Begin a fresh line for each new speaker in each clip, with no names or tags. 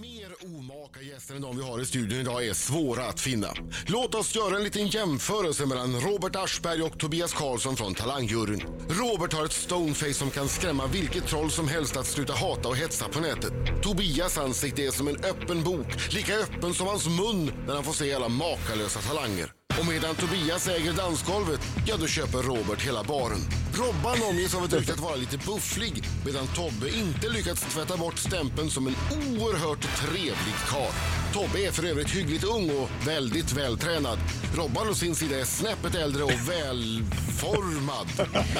Mer omaka gäster än de vi har i studion idag är svåra att finna. Låt oss göra en liten jämförelse mellan Robert Aschberg och Tobias Karlsson från Talangjuryn. Robert har ett stoneface som kan skrämma vilket troll som helst att sluta hata och hetsa på nätet. Tobias ansikte är som en öppen bok, lika öppen som hans mun när han får se alla makalösa talanger. Och medan Tobias äger dansgolvet, ja då köper Robert hela baren. Robban omges av ett rykte att vara lite bufflig medan Tobbe inte lyckats tvätta bort stämpeln som en oerhört trevlig karl. Tobbe är för övrigt hyggligt ung och väldigt vältränad. Robban å sin sida är snäppet äldre och välformad.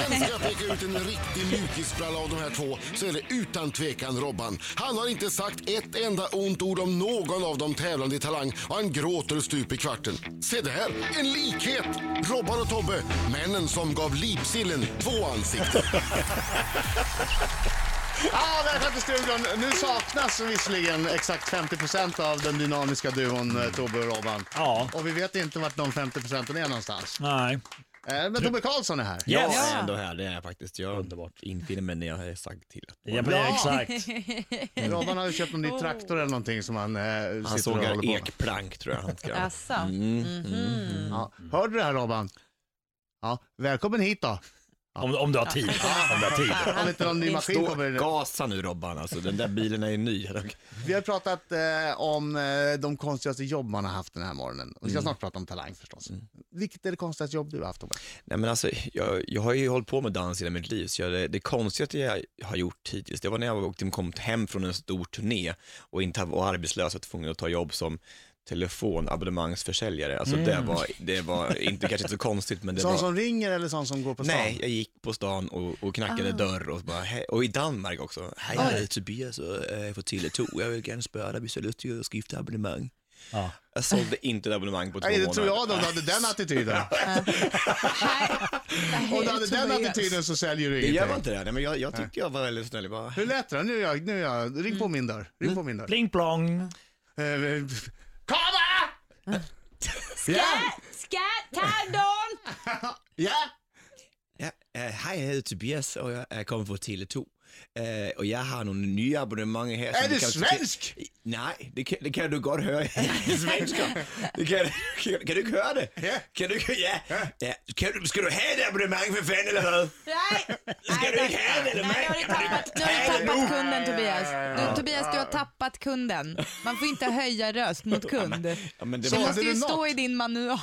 Men ska jag peka ut en riktig mjukisbralla av de här två så är det utan tvekan Robban. Han har inte sagt ett enda ont ord om någon av de tävlande i Talang och han gråter stup i kvarten. Se där, en likhet! Robban och Tobbe, männen som gav lipsillen två ansikten.
Ja, välkommen till studion. Nu saknas visserligen exakt 50% av den dynamiska duon eh, Tobbe och Robban.
Ja.
Och vi vet inte vart de 50% är någonstans.
Nej.
Eh, Men Tobbe Karlsson är här.
Jag
Yes.
är ändå här, det är jag faktiskt. Jag Underbart. infinner mig när jag är sagd till. att vara
Ja,
här.
men exakt.
Robban har ju köpt en ny traktor eller någonting som han eh, sitter
Han
och
sågar
håller på med.
ekplank tror jag han ska göra.
Jaså?
Ja. Hörde du det här Robban? Ja, välkommen hit då.
Om, om du har tid. Om du har tid.
Om inte någon ny maskin
Stå,
kommer.
gasa nu Robban, alltså. den där bilen är ju ny.
Vi har pratat eh, om eh, de konstigaste jobb man har haft den här morgonen. Och vi ska
Mm.
snart prata om talang förstås. Vilket är det konstigaste jobb du har haft Tobbe?
Nej, men alltså, jag, jag har ju hållit på med dans hela mitt liv, så jag, det, det konstigaste jag har gjort hittills, det var när jag åkte, kom hem från en stor turné och inte var arbetslös och tvungen att ta jobb som telefonabonnemangsförsäljare. Alltså, det, var, det var inte kanske inte så konstigt, men det
Sån
var...
som ringer eller sån som går på stan? Ah.
Nej, jag gick på stan och, och knackade dörr och bara, hej, och i Danmark också. Hej, jag heter Tobias och eh, jag är från Tele2. Jag vill gärna spöra dig, vi ser ut att skrifta abonnemang.
Ja.
Jag sålde inte ett abonnemang på två
Nej, det
månader.
tror jag då, om du hade den attityden. Om du hade den attityden så säljer du
Det gör man
ingenting.
inte det, Nej, men jag, jag tyckte jag var väldigt snäll. Jag bara,
Hur lät det? Nu är jag, nu är jag, ring på
Mm.
min dörr. Ring på min dörr.
Pling plong.
Eh, Komma! Ja,
Skattandon!
ja.
ja, eh, hej, jag heter Tobias och jag eh, kommer från Tele2. Eh, och jag har några nya abonnemang här. som
Är du
kan-
svensk?
Nej, det kan, det kan du godt høre. Jeg er svensker. Det kan, kan, kan du ikke høre det?
Ja.
Kan du ikke, ja. ja. Kan du, skal du have det abonnement for fanden, eller hvad?
Nej!
Skal du ikke have det, eller
Nej, nu har
hvad?
du
Kan du ikke
tappat, nu har du
have det nu?
tappat kunden Tobias. Du, Tobias, du har tappat kunden. Man får inte höja röst mot kund.
Ja, men det
Det
var,
måste ju
du
stå
något?
i din manual.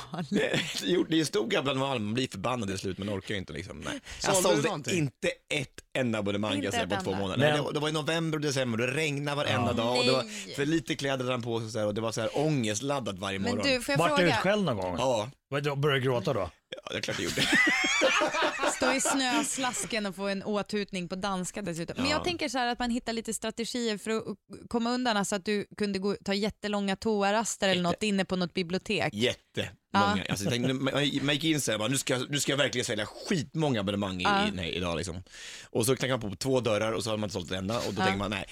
jo, det stod jag bland vanligt, man blir förbannad till slut men orkar ju inte liksom. Nej. Jag
Sålde du
sålde
någonting?
inte ett enda abonnemang kan jag
Inte
säga,
ett
på två
enda.
månader.
Men-
Nej, det, det var i november och december och det regnade varenda dag och det var
Nej.
för lite kläder hade han på sig och så här, och det var så här ångestladdat varje
Men
morgon.
du, får jag
Vart du
fråga?
utskälld någon gång?
Ja,
Vad, då Började du gråta då?
ja, det är klart jag gjorde.
Stå i snöslasken och få en åthutning på danska dessutom. Men jag tänker så här att man hittar lite strategier för att komma undan, alltså att du kunde gå, ta jättelånga toaraster eller något inne på något bibliotek.
Jättemånga.
Ja.
Alltså, jag tänkte, man, man gick in så här, bara, nu, ska, jag- nu ska jag verkligen sälja skitmånga abonnemang i, i, nej, idag. Liksom. Och så knackar man på två dörrar och så har man inte sålt en enda och då tänker man, nej,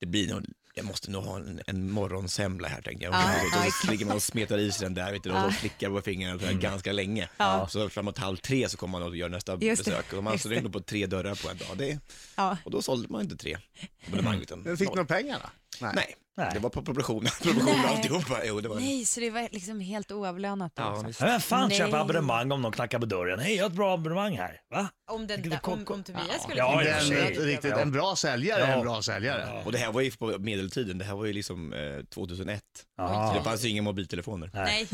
det blir nog jag måste nog ha en, en morgonsemla här tänker jag. Och
Ja,
så,
ja,
så ligger man och smetar i sig den där vet du, och så slickar på fingrarna så
Mm.
här ganska länge. Så framåt halv tre så kommer man och gör nästa
Just det,
besök. Och man
just
så ringde på tre dörrar på en dag. Det,
Ja.
Och då sålde man inte tre abonnemang utan
Mm. Men Fick
noll.
du några pengar då?
Nej.
Nej.
det var på proportioner, proportioner
Nej.
alltihopa. Jo, det var...
Nej, så det var liksom helt oavlönat då
Ja,
också.
visst.
Ja, Vem fan
Nej.
köper abonnemang om någon knackar på dörren? Hej, jag har ett bra abonnemang här. Va?
Om, den
Vilket
där, om,
koko-
om Tobias skulle
Ja,
komma.
i och för
Den,
sig.
ett, riktigt, en bra säljare är en bra säljare.
Och det här var ju på medeltiden, det här var ju liksom eh, 2001. Så det
Ja.
fanns ju inga mobiltelefoner.
Nej,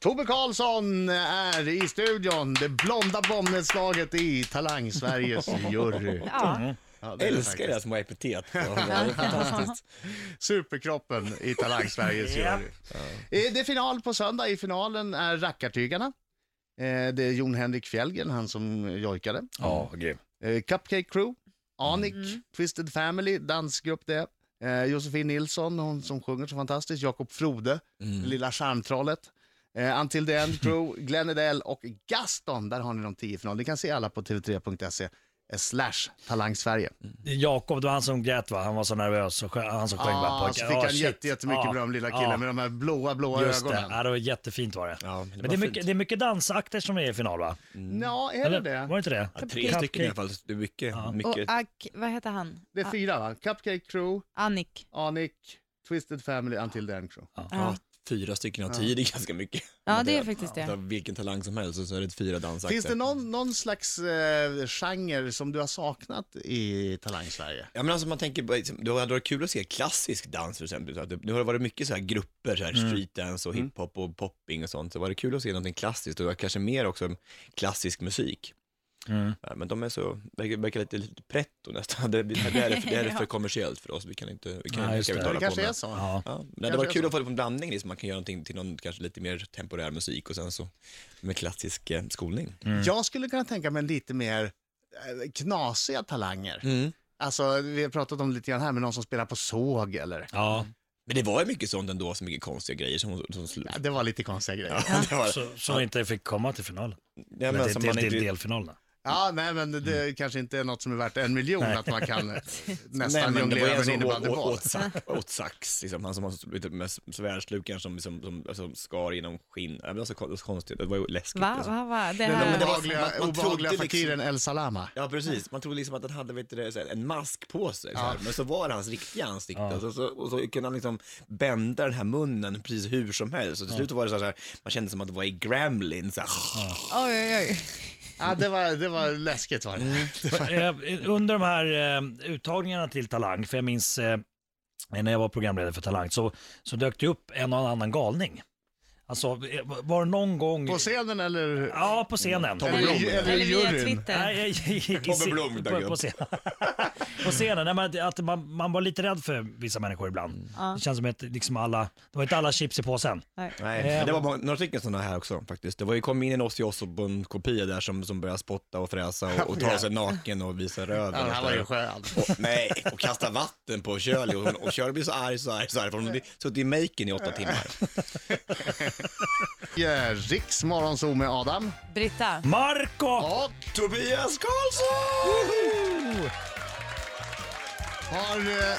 Tobbe Karlsson är i studion, det blonda bombnedslaget i Talang Sveriges jury.
ja.
Ja, det är
Jag
det
älskar
faktiskt.
det som epitet. Ja, det är fantastiskt.
Superkroppen i Talang Sveriges
Ja.
jury. Eh, Det är final på söndag. I finalen är Rackartygarna. Eh, Det är Jon Henrik Fjällgren, han som jojkade.
Ja, grym.
Eh, Cupcake Crew, Anik, Twisted Family, dansgrupp det. Eh, Josefin Nilsson, hon som sjunger så fantastiskt. Jakob Frode, lilla charmtrollet. Eh, Until the End Crew, Glenn Edell och Gaston. Där har ni de tio i final. Ni kan se alla på tv3.se eh, slash Talang Sverige.
Jakob, det var han som grät va? Han var så nervös. Och sjö- han som sjöng va?
Ah, så
Pojkar.
fick
Ah,
han
shit.
jätte, jättemycket
Ja.
beröm, lilla killen,
Ja.
med de här blåa, blåa
Just det,
ögonen.
ja, det var jättefint var det.
Ja, men det
men det
var
är,
fint.
mycket, det är mycket dansakter som är i final va?
Ja, är det
Var det
det?
inte det?
Ja, tre stycken i alla fall, så det är mycket.
Och
mycket.
Ak, vad heter han?
Det är fyra va? Cupcake Crew,
Annik.
Anik, Twisted Family, Until the End Crew.
Ja.
Fyra stycken av tio, det är ganska mycket.
Ja, det är faktiskt
Alltså,
det.
vilken talang som helst och så är det fyra dansakter.
Finns det någon, någon slags eh, genre som du har saknat i Talang-Sverige?
Ja men alltså man tänker, på, liksom, det hade varit kul att se klassisk dans till exempel. Så att det, nu har det varit mycket så här grupper, så här
Mm.
streetdance och hiphop och popping och sånt. Så var det kul att se någonting klassiskt och kanske mer också klassisk musik.
Mm.
Ja, men de är så, verkar, verkar lite, lite pretto nästan. Det, det, här är, det här är för kommersiellt för oss, vi kan inte, vi kan,
Ja,
vi
just
kan
det.
Ja,
inte hålla
det
på
kanske är
med.
så.
Ja.
Ja, men det
Kanske
var
är
kul
så.
att få en blandning, liksom. man kan göra någonting till någon kanske lite mer temporär musik och sen så med klassisk eh, skolning.
Mm.
Jag skulle kunna tänka mig lite mer eh, knasiga talanger.
Mm.
Alltså, vi har pratat om lite grann här med någon som spelar på såg eller...
Ja.
Men det var ju mycket sånt ändå, så mycket konstiga grejer som, som, som
Ja, det var lite konstiga grejer.
Ja, det var det.
Så, som inte fick komma till finalen.
Ja,
Men
men
till,
som
till,
man
till
inte...
delfinalerna.
Ja, nej men det det kanske inte är något som är värt en miljon att man kan eh,
Nej,
nästan
men det var
jonglera med
ju en
en
som åt,
innebandyboll.
åt, sax, åt sax, liksom. han som har lite med svärdslukaren som, som, som, som skar genom skinn. Ja, men Det var så kon- så konstigt, det var ju läskigt.
Va,
alltså.
va, va?
men
Det
Den
det
här...
var-
obehagliga,
man- man
obehagliga
trodde liksom-
fakiren El Salama.
Ja precis, man trodde liksom att han hade vet du, det, så här, en mask på sig, så här. men så var det hans riktiga ansikte. Och, så, så, och så kunde han liksom bända den här munnen precis hur som helst. Och till slut var det så här, man kände som att det var i Gremlin. Så här.
Oj, oj, oj.
Ja, det var, det var läskigt var det.
Eh, Under de här eh, uttagningarna till Talang, för jag minns eh, när jag var programledare för Talang, så, så dök det upp en och annan galning. Alltså, eh, var det någon gång...
På scenen eller?
Ja, på scenen.
Tommy
Eller,
Blom.
eller,
Eller via
juryn.
Twitter.
Nej, jag gick i
Tobbe
se-
Blom,
på,
tack.
på scenen. på scenen nej, men att man, man var lite rädd för vissa människor ibland.
Mm.
Ja.
Det känns som att liksom alla, det var inte alla chips i påsen.
Nej.
Nej,
Eh,
men det var många, några stycken sådana här också faktiskt. Det var ju kom in en Ozzy Osbourne-kopia där som, som började spotta och fräsa och, och ta sig naken och visa röven.
Ja, det här var ju
och,
skön.
nej, och kasta vatten på Shirley och, hon- och Shirley blir så arg, så arg, så arg för hon har suttit i maken i åtta timmar.
Ja, Riks morgonzoo eh, med Adam.
Britta.
Marco!
Och
Tobias Karlsson!
har, eh,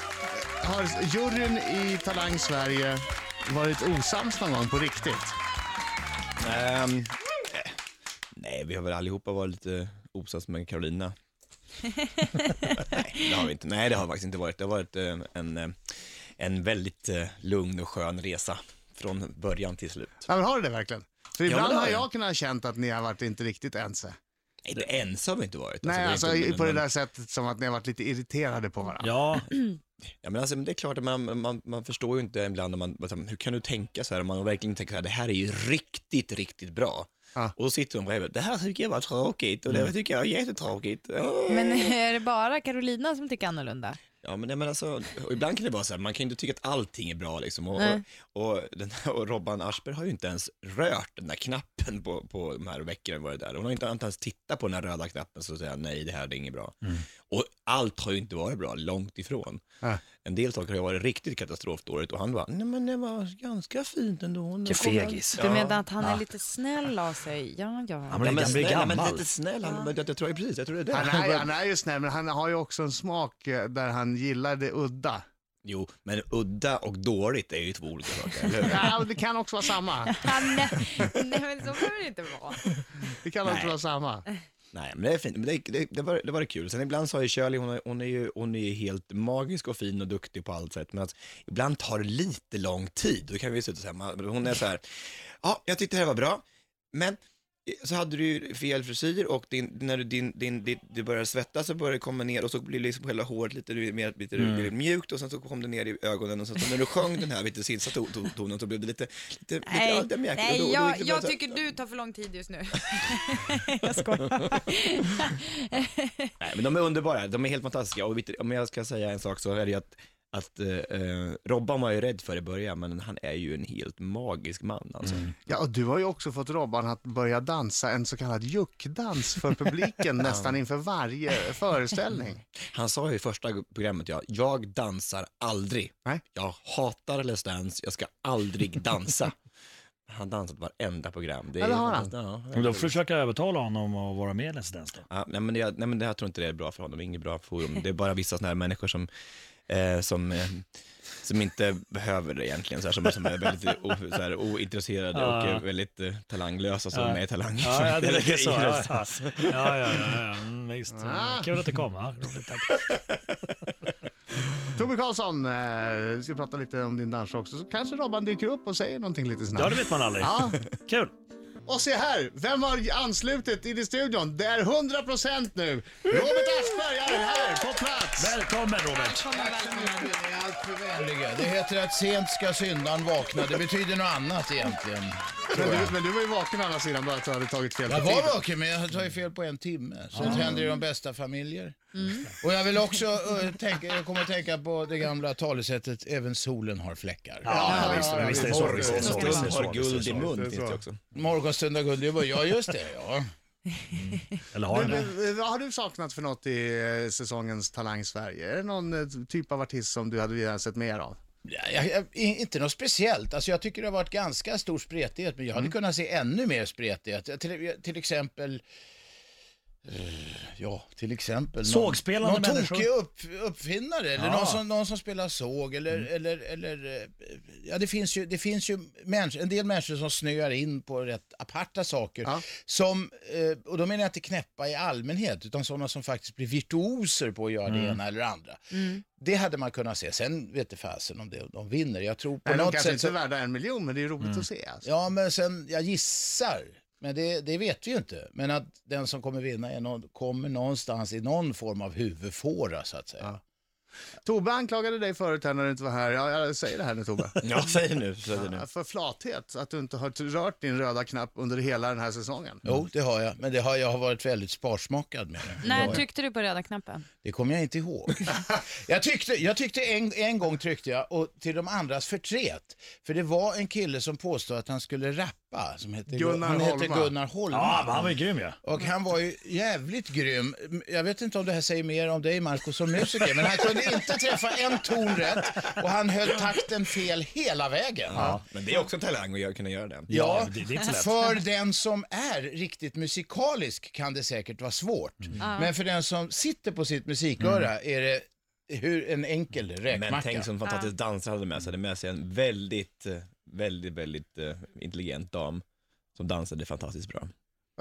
har juryn i Talang Sverige varit osams någon gång på riktigt?
Ehm, eh, nej, vi har väl allihopa varit lite osams med Carolina. nej, det har vi inte. Nej, det har faktiskt inte varit. Det har varit eh, en, eh, en väldigt eh, lugn och skön resa från början till slut.
Ja, men har du det verkligen? För
men
ibland
det har
har
jag.
jag kunnat ha känt att ni har varit inte riktigt ense.
Nej, det ens har vi inte varit.
Nej,
det är
alltså
inte-
i- på det
men-
där sättet som att ni har varit lite irriterade på varandra.
Ja,
Ja, men alltså, men det är klart att man, man, man förstår ju inte ibland, när man, vad fan, hur kan du tänka så här, om man verkligen tänker så här, det här är ju riktigt, riktigt bra.
Ja. Mm.
Och så sitter hon bredvid, det här tycker jag var tråkigt och det här tycker jag är jättetråkigt. Åh.
Men är det bara Carolina som tycker annorlunda?
Ja, men, nej, men alltså, och ibland kan det vara så här, man kan ju inte tycka att allting är bra liksom. Och,
Nej.
och, och, den, här- och Robban Aschberg har ju inte ens rört den där knappen på, på de här veckorna vi varit där. Hon har inte ens tittat på den här röda knappen så säger nej, det här är inget bra. Och allt har ju inte varit bra, långt ifrån.
Mm. Nej.
En del saker har ju varit riktigt katastrofdåligt och han bara, nej men det var ganska fint ändå. Nu
Vilken
kommer-
fegis.
Du menar att han är lite snäll av sig? Ja,
han
ja.
blir,
Ja, men
han blir
snäll,
gammal.
men lite snäll, han, men jag, jag tror jag precis, jag tror det är
Han
det.
är, han är ju snäll, men han har ju också en smak eh, där han gillar det udda.
Jo, men udda och dåligt är ju två olika saker, eller hur?
Ja, det kan också vara samma.
Han, nej, nej, men så behöver det inte vara.
Det kan också vara samma.
Nej, men det är fint. Men det, det, det, var, det var det kul. Sen ibland så har ju Shirley, hon, är- hon, är ju, hon är ju helt magisk och fin och duktig på allt sätt, men att ibland tar det lite lång tid. Då kan vi sitta och säga, man- hon är så här, ja, jag tyckte det här var bra, men så hade du ju fel frisyr och din, när du, din, din, ditt- du började svettas så började det komma ner och så blir liksom hela håret lite, mer, lite, lite mjukt och sen så kom det ner i ögonen och sen så när du sjöng den här lite silsa to- to- tonen så blev det lite, lite, lite,
Nej,
lite mjäkigt. Och då-
nej
då gick
jag,
det bara
jag
så här-
tycker du tar för lång tid just nu. jag skojar.
Nej, men de är underbara, de är helt fantastiska och vet du, om jag ska säga en sak så är det ju att, att eh, eh, Robban var ju rädd för i början men han är ju en helt magisk man alltså.
Ja, och du har ju också fått Robban att börja dansa en så kallad juckdans för publiken nästan inför varje föreställning.
Han sa ju i första programmet, ja, jag dansar aldrig.
Nej.
Jag hatar Let's Dance, jag ska aldrig dansa. Han dansat varenda program. Det
Ja, det har
är-
han.
Ja,
Men då får du försöka övertala honom att vara med i Let's Dance då.
Ja, nej, men jag, nej men det här tror inte det är bra för honom, det är inget bra forum. Det är bara vissa sådana här människor som, eh, som, eh, som inte behöver det egentligen, så här, som, som är väldigt o, så här, ointresserade och eh, väldigt eh, talanglösa som är med i Talang.
Ja, ja, det räcker så.
I
Ja,
Let's
ja,
Dance.
Ah. ja, ja, ja. Mm, visst. Kul att du kom. Ja, roligt, tack.
Tobbe Karlsson, eh, vi ska prata lite om din dans också. Så kanske Robban dyker upp och säger någonting lite
Ja, det
snabbt.
vet man aldrig.
Ja.
Kul.
Och se här, vem har anslutit in i studion? Det är 100% nu! Robert Aschberg är här på plats!
Välkommen Robert.
Välkommen, välkommen.
Ni är alltför vänliga. Det heter att sent ska syndaren vakna. Det betyder något annat egentligen.
Men du, men du var ju vaken å andra sidan bara att du hade tagit fel på
Jag var
tiden.
vaken men jag tar ju fel på en timme. Sånt händer i de bästa familjer.
Mm.
Och jag vill också eh, tänka, jag kommer att tänka på det gamla talesättet, även solen har fläckar.
Ja, visst, men visst är det så. Visst är det så.
Stund
Visst är det så,
har
visst är det
guld i
så.
mun
finns
finns
det
det också.
Morgonstund och guld, det var- ja just det ja.
Eller har den det?
Men, eh, Vad har du saknat för något i eh, säsongens Talang Sverige? Är det någon eh, typ av artist som du hade velat sett mer av?
Ja, Jag, jag, i- inte något speciellt. Alltså jag tycker det har varit ganska stor spretighet, men jag
Mm.
hade kunnat se ännu mer spretighet. Jag- Till, jag- till exempel... eh, Ja, till exempel. någon-
Sågspelande
Någon
människor.
tokig upp, uppfinnare, eller
Ja.
någon, som, någon som spelar såg, eller...
Mm.
eller, eller eh, ja, det finns ju, det finns ju människor, en del människor som snöar in på rätt aparta saker.
Ja.
Som, eh, och då menar jag inte knäppa i allmänhet, utan sådana som faktiskt blir virtuoser på att göra
Mm.
det ena eller det andra. Det hade man kunnat se. Sen vet det fasen om det, de vinner. Jag tror på
Nej, de
något
kanske
sätt...
inte är
Så, Mm.
värda en miljon, men det är roligt att se. Alltså.
ja, men sen, jag gissar. Men det, det vet vi ju inte. Men att den som kommer vinna är någon, kommer någonstans i någon form av huvudfåra så att säga.
Tobbe anklagade dig förut här när du inte var här. Ja, jag säger det här nu Tobbe.
Ja, säg nu. Säg nu.
Ja, För flathet, att du inte har rört din röda knapp under hela den här säsongen.
Jo, det har jag. Men det har, jag har varit väldigt sparsmakad med det.
När tryckte du på röda knappen?
Det kommer jag inte ihåg. jag tyckte, jag tyckte en, en gång tryckte jag och till de andras förtret. För det var en kille som påstod att han skulle rappa. Som hette,
Gunnar
han hette
Holma.
Gunnar Holma.
Ja, men han var ju grym ju.
Och han var ju jävligt grym. Jag vet inte om det här säger mer om dig Marco som musiker, men han kunde inte träffa en ton rätt och han höll takten fel hela vägen. Ja,
Men det är också talang att göra- kunna göra det.
det- det är inte lätt.
för den som är riktigt musikalisk kan det säkert vara svårt. Men för den som sitter på sitt musiköra är det hur en enkel
Men
räkmacka.
tänk som fantastisk dansare hade med sig. Hade med sig en väldigt, eh, väldigt, väldigt eh, intelligent dam som dansade fantastiskt bra.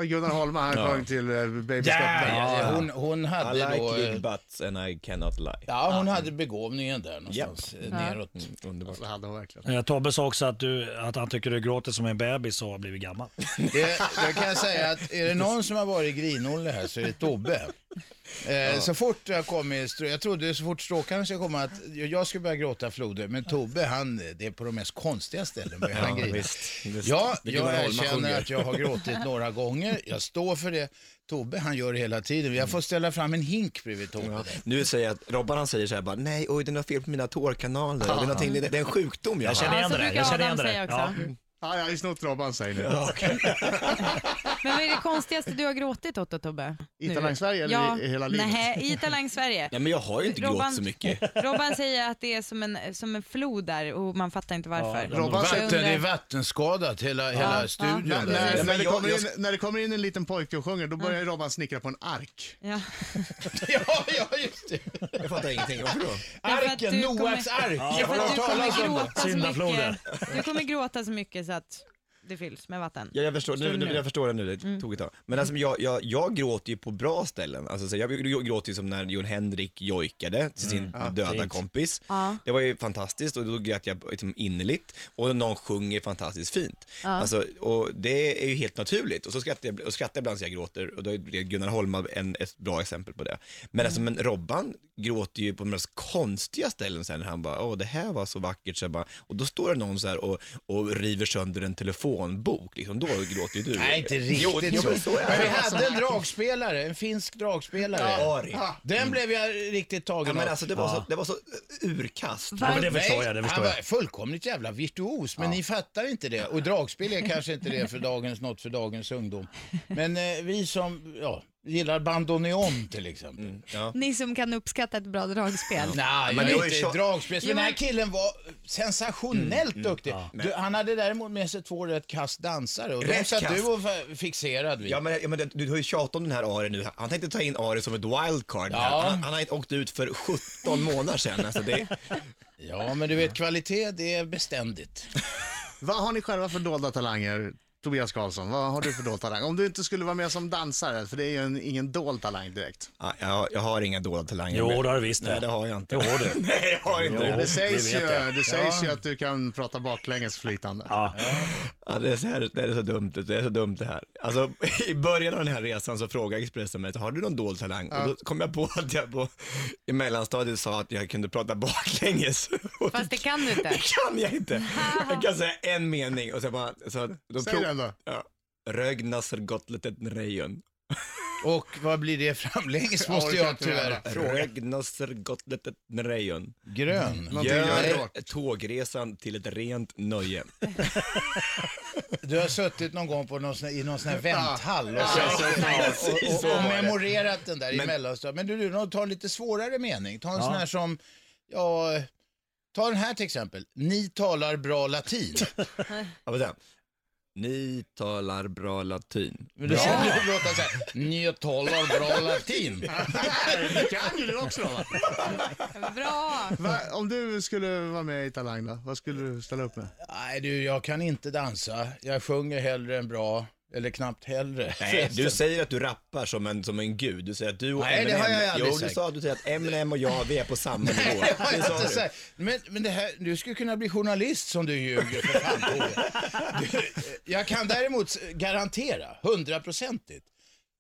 Och Gunnar Holma, han
Ja.
sjöng till eh, Baby
Ja,
Stop Me.
Ja, hon, hon
I
hade
like
då...
big butts and I cannot lie.
Ja, hon hade begåvningen där någonstans eh, neråt.
Mm, underbart.
Det hade hon verkligen.
Eh, Tobbe sa också att, du, att han tycker du gråter som en bebis och har blivit gammal.
Det, jag kan säga att är det någon som har varit grinolle här så är det Tobbe. Eh, Så fort jag kom i, strå- jag trodde så fort stråkarna skulle komma att jag skulle börja gråta floder, men Tobbe han, det är på de mest konstiga ställen börjar han grina.
visst, visst.
Ja,
Det kan
jag
man hålla, man
erkänner
sjunger.
att jag har gråtit några gånger, jag står för det. Tobbe han gör det hela tiden, jag får ställa fram en hink bredvid Tobbe.
Ja. Nu säger jag att Robban han säger så här bara, nej oj den har fel på mina tårkanaler, det, är någonting- det, det är en sjukdom
Jag
jag har.
känner
Ja,
igen
så
det där.
brukar
Jag känner igen
Adam
det
säga
där.
också.
Ja.
Ja, jag har ju snott Robban säger nu.
Men vad är det konstigaste du har gråtit åt då Tobbe?
I
Nu.
Talang Sverige eller
ja,
i- i hela livet?
Nej, i Talang Sverige.
Nej men jag har ju inte
Robban-
gråtit så mycket.
Robban säger att det är som en, som en flod där och man fattar inte varför.
Ja,
Robban
Så jag
Vatten,
undrar-
det är vattenskadat hela, hela
ja.
studion.
Ja,
där.
När,
men
när, det
jag-
kommer
jag
in, när det kommer in en liten pojke och sjunger, då börjar ju Robban snickra på en ark.
Ja.
Ja, ja, just det.
Jag fattar ingenting, varför då?
Därför att
Arken,
du kommer-
Noaks ark.
Ja, för att du kommer gråta så
Syndafloden.
mycket. Du kommer gråta så mycket så att det fylls med vatten.
Ja, jag förstår,
Mm. Förstår
nu,
du
nu,
nu?
jag förstår det nu, det tog ett tag. Men alltså, jag, jag, jag gråter ju på bra ställen. Alltså, så jag gråter ju som när Jon Henrik jojkade till sin döda
fint.
kompis.
Ja.
Det var ju fantastiskt och då grät jag liksom innerligt och någon sjunger fantastiskt fint. Alltså, och det är ju helt naturligt och så skrattar jag, och skrattar jag ibland så jag gråter och då är det Gunnar Holma en, ett bra exempel på det. Men, alltså, men Robban gråter ju på de mest konstiga ställen sen när han bara, åh det här var så vackert, så jag bara, och då står det någon så här och, och river sönder en telefonbok, liksom, då gråter ju du.
Nej, inte
Jo,
riktigt
jo,
så.
men så är typ-
Men vi
det.
hade en dragspelare, en finsk dragspelare.
Ari.
Den blev jag riktigt
Ja,
tagen
men
av.
alltså det var så, det var så urkast.
Ja, men det förstår
Nej,
jag, det förstår
han
jag.
var fullkomligt jävla virtuos, men ni fattar inte det. Och dragspel är kanske inte det för dagens, något för dagens ungdom. Men eh, vi som ja, gillar bandoneon till exempel.
Ja.
Ni som kan uppskatta ett bra dragspel.
Nej,
Mm. Men
jag
det var
är
ju
inte
så- Mm,
dragspel.
Jo,
Men den här
men-
killen var sensationellt duktig. Du, han hade däremot med sig två rätt kass dansare och de
Rätt
satt
kass.
du och fa- fixerad vid.
Ja men, ja, men det- du har ju tjatat om den här Ari nu. Han tänkte ta in Ari som ett wildcard. här.
Ja.
Han, han har inte åkt ut för 17 månader sedan. Alltså det,
Ja, men du vet kvalitet det är beständigt.
Vad har ni själva för dolda talanger? Tobias Karlsson, vad har du för dold talang? Om du inte skulle vara med som dansare, för det är ju en, ingen dold talang direkt.
Ja, jag, jag har inga dolda talanger.
Jo, det har du visst
Nej,
det.
det har jag inte.
Jo, du.
Nej, jag har inte.
Det sägs,
vi
ju,
vet det.
det sägs ju att du kan prata baklänges flytande.
Ja.
Ja, det, är så här, det är så dumt, det är så dumt det här. Alltså, I början av den här resan så frågade Expressen mig, har du någon dold talang? Och då kom jag på att jag på, i mellanstadiet sa att jag kunde prata baklänges. Och
Fast det kan du inte.
det kan jag inte. Jag kan säga en mening och sen bara... Så, då
Säg den då.
Ja. Rögnasser gottletet rejon.
Och vad blir det framlänges
Jag
måste
orkar
jag
inte
tyvärr
göra.
fråga.
Rögnasser gottletet rejon.
Grön.
Någonting gör
Gör
bort.
tågresan till ett rent nöje.
Du har suttit någon gång på någon sån, i någon sån här vänthall och, så, och, och, och, memorerat den där i
Men-
mellanstadiet. Men du, du, nå- ta en lite svårare mening. Ta en sån här som, ja, ta den här till exempel. Ni talar bra latin.
Ja, vad säger han? Ni talar bra latin.
Men det skulle ju låta så här, ni talar bra latin.
Det kan ju du också va?
Bra!
va? Om du skulle vara med i Talang då, vad skulle du ställa upp med?
Nej du, jag kan inte dansa. Jag sjunger hellre än bra, eller knappt hellre.
Nej, du säger att du rappar som en, som en gud. Du säger att du och
Nej, det
Eminem...
har jag aldrig
jo, du
sagt.
sa att du säger att Eminem och jag, vi är på samma nivå.
Det har
Det
jag
sa
inte
du.
sagt. Men, men det här, du skulle kunna bli journalist som du ljuger för fan Tove. Du, Jag kan däremot garantera, hundraprocentigt,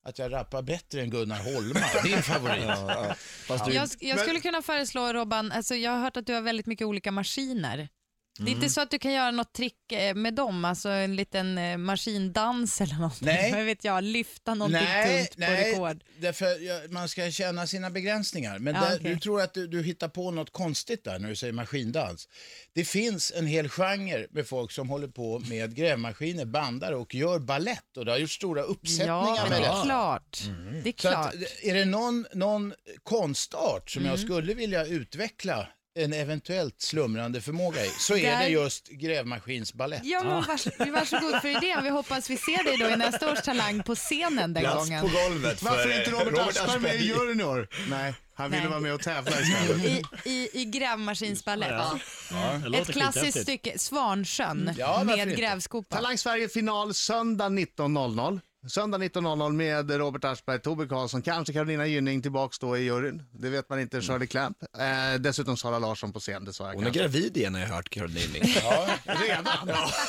att jag rappar bättre än Gunnar Holma, din favorit.
Ja, ja. Fast
Typ.
du...
Jag, jag skulle kunna föreslå Robban, alltså jag har hört att du har väldigt mycket olika maskiner. Det är
Mm.
inte så att du kan göra något trick eh, med dem, alltså en liten eh, maskindans eller någonting.
Nej.
Vad vet jag, lyfta någonting tungt på rekord.
därför jag, man ska känna sina begränsningar. Men
Ja,
där,
okej.
du tror att du, du hittar på något konstigt där när du säger maskindans. Det finns en hel genre med folk som håller på med grävmaskiner, bandar och gör ballett och det har gjort stora uppsättningar
Ja,
med
men det är
det. Mm.
klart. Det är
Så att,
klart. Mm.
är det någon, någon konstart som jag skulle vilja utveckla en eventuellt slumrande förmåga i så är
Där-
det just grävmaskinsbalett.
Ja, men vars, varsågod för idén. Vi hoppas vi ser dig då i nästa års Talang på scenen den
Plats
gången.
på golvet
Varför är inte Robert, Aschberg med i
eh, Aschberg.
juryn i år? Nej, han ville
Nej.
vara med och tävla istället.
I, i, i grävmaskinsbalett.
Ja. Ja, det låter
Ett klassiskt
skithäftigt.
stycke, Svansjön
Ja, varför
med
inte?
grävskopa.
Talang Sverige final söndag 19.00. Söndag 19.00 med Robert Aschberg, Tobbe Karlsson, kanske Carolina Gynning tillbaks då i juryn. Det vet man inte, Shirley Clamp. Eh, dessutom Sara Larsson på scen, det sa jag
Hon är
kanske.
gravid igen har jag hört, Caroline Linning.
Ja,
Redan?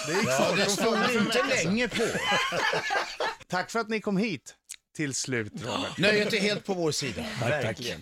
Det gick
ja,
fort.
det
Hon föddes
står
för en
inte
alltså.
vecka sedan.
länge på.
Tack för att ni kom hit till slut, Robert.
Nöjet är helt på vår sida.
Tack, tack.
Verkligen.